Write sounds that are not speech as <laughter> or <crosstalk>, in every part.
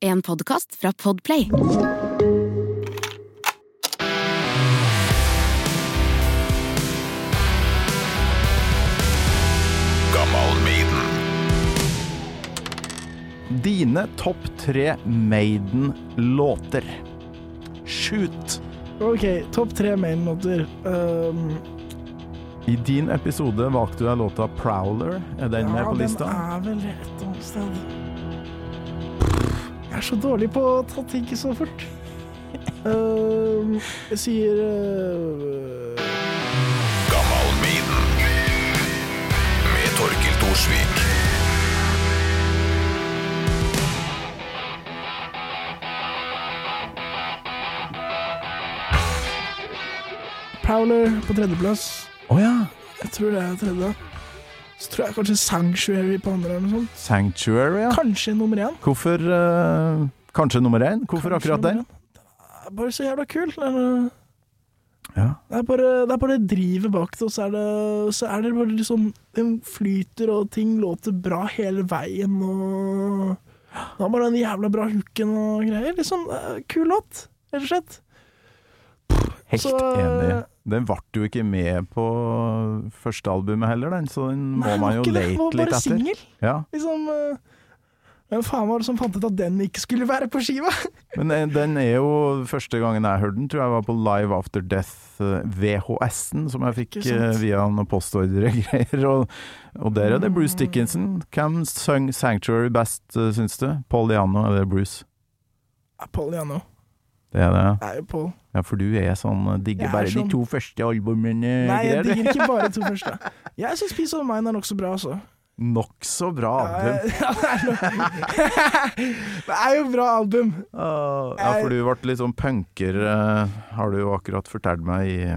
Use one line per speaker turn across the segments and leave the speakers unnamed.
En podkast fra Podplay.
Dine topp tre Maiden-låter. Shoot!
Ok, topp tre mainlåter. Um,
I din episode valgte du deg låta 'Prowler'. Er den med på lista?
den er vel et annet sted. Jeg er så dårlig på å ta ting så fort. Um, jeg sier uh, Prowler på tredjeplass.
Å ja!
Jeg tror det er tredje. Så tror jeg kanskje Sanctuary på andre eller noe sånt.
Sanctuary, ja.
Kanskje nummer én.
Hvorfor eh, Kanskje nummer én? Hvorfor
Kanskje
akkurat den?
nummer én. Det er bare så jævla kult. Det er,
Ja.
det er bare, det er bare drivet bak det, og så er det, så er det bare liksom Den flyter, og ting låter bra hele veien, og Det er bare den jævla bra hooken og greier. Liksom, eh, kul låt, rett og slett.
Helt
Så- eh,
enig. Den ble jo ikke med på første albumet heller, den, så den må
Nei,
man
det
jo
var ikke det. Det
lete
var
litt
bare
etter.
singel.
Ja.
Liksom eh, Hvem faen var det som fant ut at den ikke skulle være på skiva?
Men eh, den er jo Første gangen jeg hørte den, tror jeg var på Live After Death, eh, VHS-en, som jeg fikk
Ikke sant.
eh, via noen postordre og <laughs> greier. Og, og der er det Bruce Dickinson. Hvem sang Sanctuary best, eh, syns du? Paul Diano eller Bruce?
Ja, Paul Jano.
Det er det, ja.
Det er jo Paul.
ja. For du er sånn eh,
Jeg
Digger
er
bare
sånn-
de to første albumene
Nei,
og
jeg
greier.
digger ikke bare de to første. Jeg syns Peace of Mind er nokså bra, altså.
Nokså bra
Ja,
album.
det er nok- <laughs> Det er jo bra album.
Ah, Ja, for du ble litt sånn punker, eh, har du jo akkurat fortalt meg i,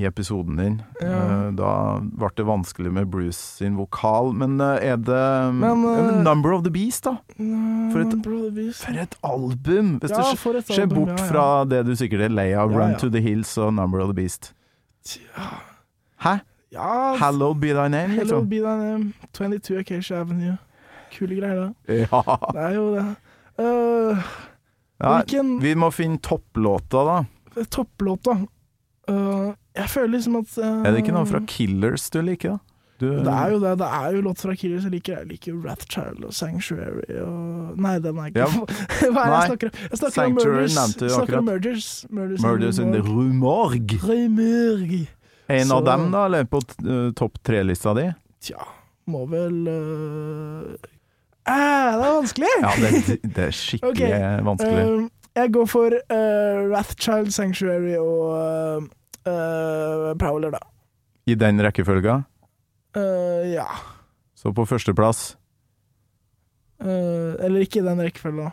i episoden din.
Ja.
Eh, Da ble det vanskelig med Bruce sin vokal, men eh, er det
Men,
Ja, men
eh,
Number of the Beast, da? For et- For
et
et album! Hvis
Ja,
du
for et
ser
album,
bort
ja, ja.
fra det du sikkert er lei av,
Ja,
Run
ja.
to the Hills og Number of the Beast.
Tja.
Hæ?
Ja, Hello,
Hallowed be thy name, liksom?
be thy name. 22 Acacia Avenue. Kule greier, da.
Ja.
Det er jo det. Uh,
ja.
hvilken
Vi må finne topplåta, da.
topplåt, da? Øh, jeg føler liksom at øh,
Er det ikke noe fra Killers du liker, da? Du,
Det er jo det. Det er jo låt fra Killers jeg liker. Jeg liker jo Rathchild og Sanctuary og Nei, den er ikke
Ja.
<laughs> Hva er det jeg
Nei.
snakker om? Jeg snakker om
Sanctuary
Murders.
nevnte du
Jeg snakker om
akkurat.
Murders. Murders,
Murders in the Rue Morgue.
Remurg.
En
Så-
av dem, da, eller på t- eh, topp tre-lista di?
Tja, må vel øh, eh, Det er vanskelig!
Ja, det, det er skikkelig
<laughs> Ok,
vanskelig.
Eh, jeg går for øh, Rathchild, Sanctuary og øh, øh, Prowler, da.
I den rekkefølga.
Eh, ja.
Så på førsteplass
Eh, eller ikke i den rekkefølgen.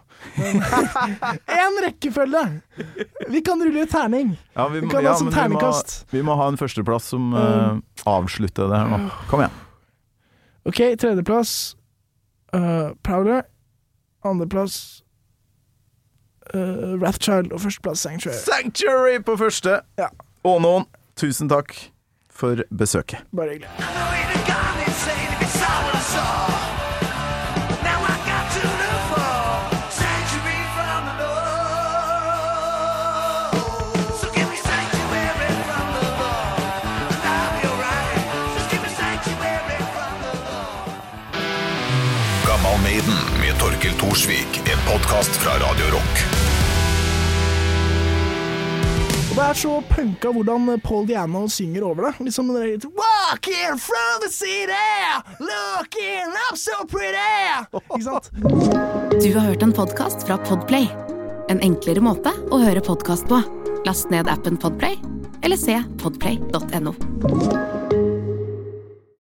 <laughs> Én rekkefølge! Vi kan rulle ut terning.
Ja, vi,
Vi
må-
kan
ja,
ha som Mm.
men vi, må,
ternekast.
vi må ha en førsteplass som eh, avslutter det her nå. Kom igjen.
OK, tredjeplass eh, Prowler. Andreplass uh, Rathchild. Og førsteplass Sanctuary.
Sanctuary på første!
Ja.
Og noen, tusen takk for besøket.
Bare hyggelig.
Gammal Maiden med Torkil Thorsvik, en podkast fra Radio Rock.
Og det er så punka hvordan Paul Diano synger over det. Liksom den der Walking from the city, looking up so pretty! Ikke sant?
Du har hørt en podkast fra Podplay. En enklere måte å høre podkast på. Last ned appen Podplay, eller se podplay.no.